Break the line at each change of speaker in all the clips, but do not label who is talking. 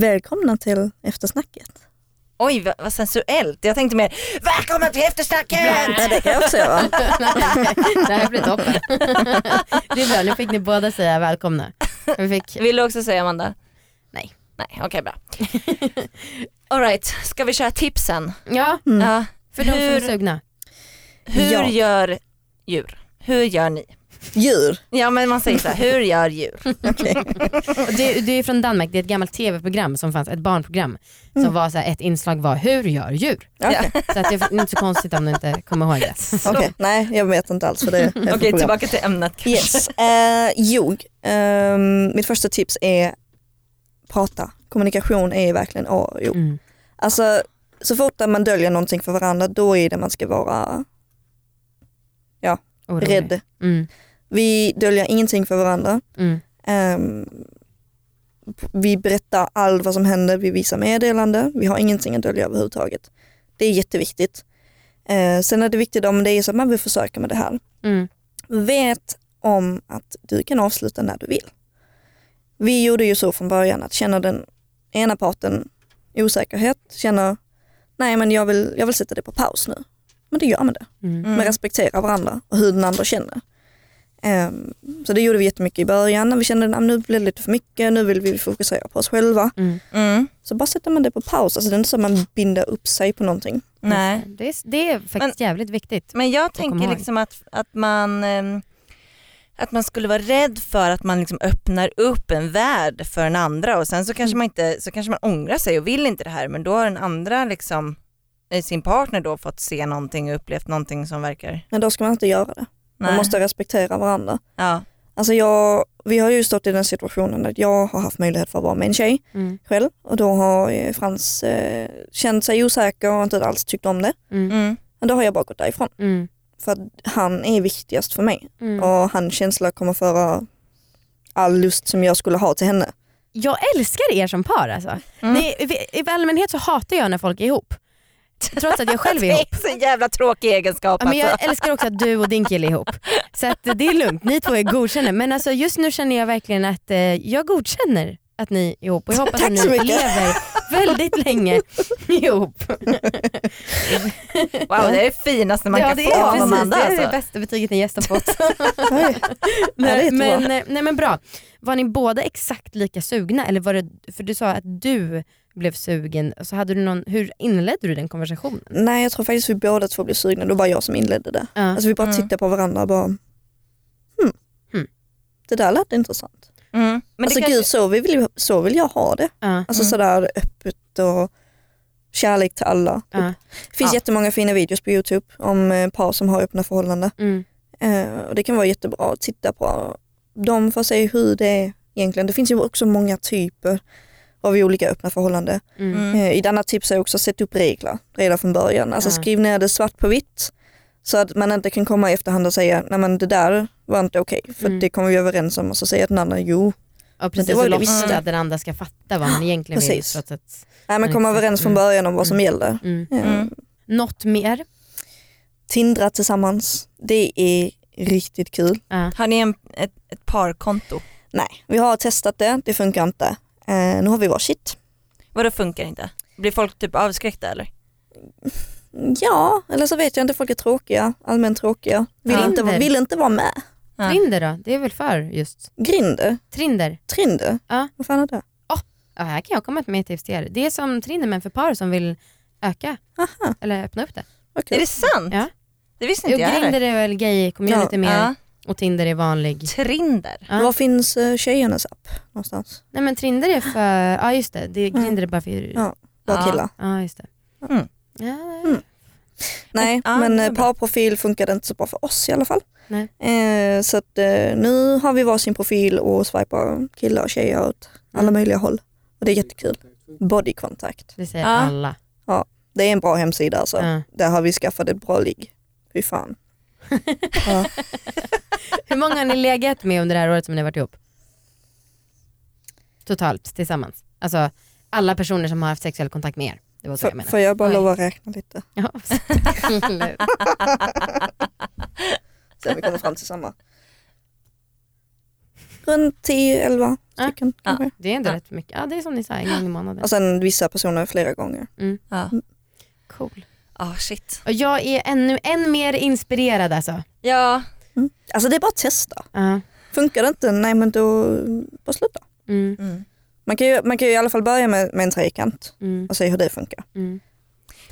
Välkomna till eftersnacket.
Oj vad, vad sensuellt. Jag tänkte mer välkomna till eftersnacket.
Ja, det kan jag också göra.
det här blir toppen. det är bra, nu fick ni båda säga välkomna. Vi fick,
Vill du också säga Amanda?
Nej.
Nej okej bra. Alright, ska vi köra tipsen?
ja,
Mm.
Ja.
för de som är
hur
sugna.
hur
Ja.
gör djur? Hur gör ni?
Djur.
Ja men man säger så här, hur gör djur? Mm.
Och Det, det är från Danmark, det är ett gammalt tv-program som fanns, ett barnprogram. Som var så här, ett inslag var hur gör djur?
Okej,
Så att det är inte så konstigt om du inte kommer ihåg det.
okej. nej jag vet inte alls för det är för
Okej
program.
tillbaka till ämnet kanske.
Yes, eh, ljug. Ehm, mitt första tips är prata. Kommunikation är verkligen A och O.
Mm.
Alltså så fort man döljer någonting för varandra då är det man ska vara
Orolig.
rädd.
Mm.
Vi döljer ingenting för varandra.
Mm.
Ehm, vi berättar allt vad som händer, vi visar meddelande, vi har ingenting att dölja överhuvudtaget. Det är jätteviktigt. Eh, sen är det viktigt om det är så att man vill försöka med det här.
Mm.
Vet om att du kan avsluta när du vill. Vi gjorde ju så från början att känner den ena parten osäkerhet, känner nej men jag vill, jag vill sätta det på paus nu. Men det gör man det.
Mm.
Man respekterar varandra och hur den andra känner. Ehm, så det gjorde vi jättemycket i början när vi kände att "Ah, nu blev det lite för mycket, nu vill vi fokusera på oss själva.
Mm.
Mm.
Så bara sätter man det på paus, alltså det är inte så att man binder upp sig på någonting.
Nej.
Det, är, det är faktiskt jävligt viktigt.
Men jag
kommer
tänker
ihåg.
liksom att, att man ehm, att man skulle vara rädd för att man liksom öppnar upp en värld för den andra och sen så
Mm.
kanske man inte så kanske man ångrar sig och vill inte det här men då har den andra liksom eh, sin partner då fått se någonting och upplevt någonting som verkar...
Men då ska man inte göra det. Man
Nej.
måste respektera varandra.
Ja.
Alltså jag, vi har ju stått i den situationen att jag har haft möjlighet för att vara med en tjej
Mm.
själv och då har eh, Frans eh, känt sig osäker och inte alls tyckt om det.
Mm.
Mm.
Men då har jag bara gått därifrån
Mm.
för att han är viktigast för mig
Mm.
och hans känsla kommer föra all lust som jag skulle ha till henne.
Jag älskar er som par alltså.
Mm.
Det, i, I allmänhet så hatar jag när folk är ihop. Trots att jag själv är
Det
ihop.
är så jävla tråkig egenskap
Ja, men
alltså.
jag älskar också att du och din kille är ihop. Så att det är lugnt, ni två är godkända. Men alltså, just nu känner jag verkligen att eh, jag godkänner att ni är ihop och jag hoppas
Tack
att ni
så mycket.
lever väldigt länge ihop.
Wow det är det finaste man
ja,
kan
det,
få
är,
av
precis,
Amanda
det är det
alltså.
bästa betyget en gäst har fått.
Oj. det är
nej,
jättebra.
men, eh, nej men bra. Var ni båda exakt lika sugna? Eller var det, för du sa att du blev sugen, så hade du någon, hur inledde du den konversationen?
Nej jag tror faktiskt vi båda två blev sugna, det var bara jag som inledde det.
Ja.
Alltså vi bara
Mm.
tittade på varandra och bara hmm.
Hmm.
Det där lät intressant.
Mm. Men
alltså
det kanske...
gud så vill, ju- så vill jag ha det.
Ja.
Alltså
Mm.
sådär öppet och kärlek till alla.
Ja.
Det finns
Ja.
jättemånga fina videos på Youtube om eh, par som har öppna förhållanden.
Mm.
Eh, och det kan vara jättebra att titta på dem för att se hur det är egentligen. Det finns ju också många typer av olika öppna förhållanden.
Mm.
Mm.
Eh, I denna tips är också sätt upp regler redan från början. Alltså
Ja.
skriv ner det svart på vitt så att man inte kan komma i efterhand och säga nej men det där var inte okej för
Mm.
det kommer vi överens om och så säger den andra jo.
Ja precis,
det var
och
ju det
låtsas
visste.
att den andra ska fatta vad man egentligen vill.
Precis.
Trots att,
Nej men
Men
kom
exakt.
överens från
Mm.
början om vad som gäller.
mm.
Eh,
Mm.
Något mer?
Tindra tillsammans, det är riktigt kul.
Ja.
Har ni en, ett, ett parkonto?
Nej, vi har testat det, det funkar inte. Eh, nu har vi varsitt.
Vadå funkar inte? Blir folk typ avskräckta eller?
Ja, eller så vet jag inte, folk är tråkiga, allmänt tråkiga. Vill,
Ja.
inte, va- vill inte vara med.
Ja.
Trinder då? Det är väl för just?
Grinder,
Trinder?
Trinder,
Ja.
vad fan är det?
Ja, här kan jag komma med ett tips till er. Det är som Trinder men för par som vill öka
Aha,
eller öppna upp det.
vad kul.
Är det sant?
Typ. Ja.
Det visste
Jo,
inte jag heller.
Grinder är väl gay-community
Ja.
mer
Ja.
och Tinder är vanlig.
Trinder.
Ja.
Var finns eh, tjejernas app någonstans?
Nej men Trinder är för, ja just det, det är,
Mm.
Grinder är bara för, ja,
Ja. Bara
Ja.
killar?
just det.
Mm.
Ja,
Nej,
Ja,
men
det är
eh,
bra.
parprofil funkade inte så bra för oss i alla fall.
Nej.
Eh, så att, eh, nu har vi varsin profil och swipar killar och tjejer åt alla
Mm.
möjliga håll. Och det är jättekul. Bodykontakt.
det säger
Ja.
alla.
Det är en bra hemsida alltså.
Ja.
Där har vi skaffat ett bra ligg. Fy fan.
Hur många har ni legat med under det här året som ni har varit ihop? Totalt tillsammans. Alltså alla personer som har haft sexuell kontakt med er. Det var så jag
F-
menade.
får jag bara
Oj.
lov att räkna lite?
Ja, absolut.
Så vi kommer fram till samma. runt 10-11
Ja.
stycken.
Ja.
kanske.
Det är ändå
Ja. Alltså,
rätt mycket. Ja, det är som ni sa, en gång i månaden.
Och sen vissa personer flera gånger.
Ja,
Cool.
ah shit.
Och jag är ännu än mer inspirerad alltså.
Ja,
Alltså det är bara att testa.
Ja.
Funkar det inte, nej men då bara sluta.
Mm,
mm.
Man kan ju, man kan ju i alla fall börja med, med en trekant
mm,
och se hur det funkar.
mm.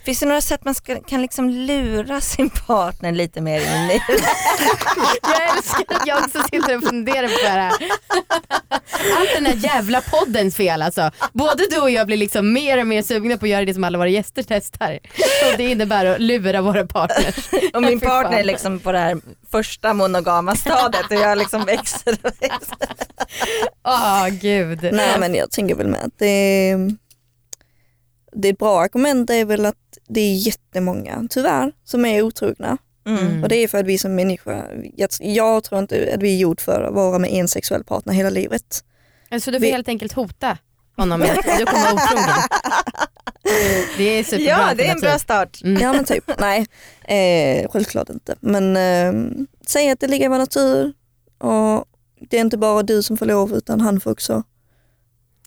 Finns det några sätt man ska, kan liksom lura sin partner lite mer in i
Jag älskar att jag också sitter och funderar på det här. Allt den här jävla poddens fel alltså. Både du och jag blir liksom mer och mer sugna på att göra det som alla våra gäster testar. Och det innebär att lura våra partners.
Och min
Fy fan.
partner är liksom på det här första monogama stadiet och jag liksom växer och växer.
Åh gud.
Nej men jag tänker väl med att det, det är ett bra argument är väl att det är jättemånga, tyvärr, som är otrogna.
Mm.
Och det är för att vi som människa, jag, jag tror inte att vi är gjord för att vara med en sexuell partner hela livet.
Så du får
Vi-
helt enkelt hota honom med att du kommer vara otrogen. Det är superbra
Ja det är en bra
alternativ.
start.
Mm.
Ja men typ, nej, eh, självklart inte. Men eh, säg att det ligger i vår natur och det är inte bara du som får lov utan han får också.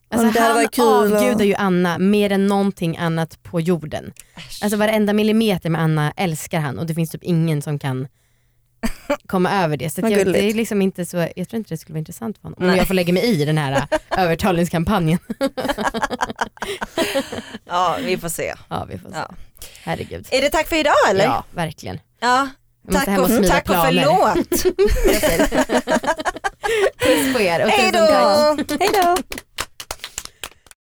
Ja, men
Alltså,
det hade
han
varit kul och-
avgudar ju Anna mer än någonting annat på jorden. Alltså varenda millimeter med Anna älskar han och det finns typ ingen som kan komma över det. Så att
Vad
jag,
gulligt.
det är liksom inte så, jag tror inte det skulle vara intressant för honom. Om
Nej.
jag får lägga mig i den här äh, övertalningskampanjen.
Ja vi får se.
Ja vi får se.
Ja.
Herregud.
Är det tack för idag eller?
Ja verkligen.
Ja.
Jag måste
Tack
hem
och,
och smida
tack och
planer.
förlåt.
Puss på er och
Hej
tusen tack.
då.
Hej då!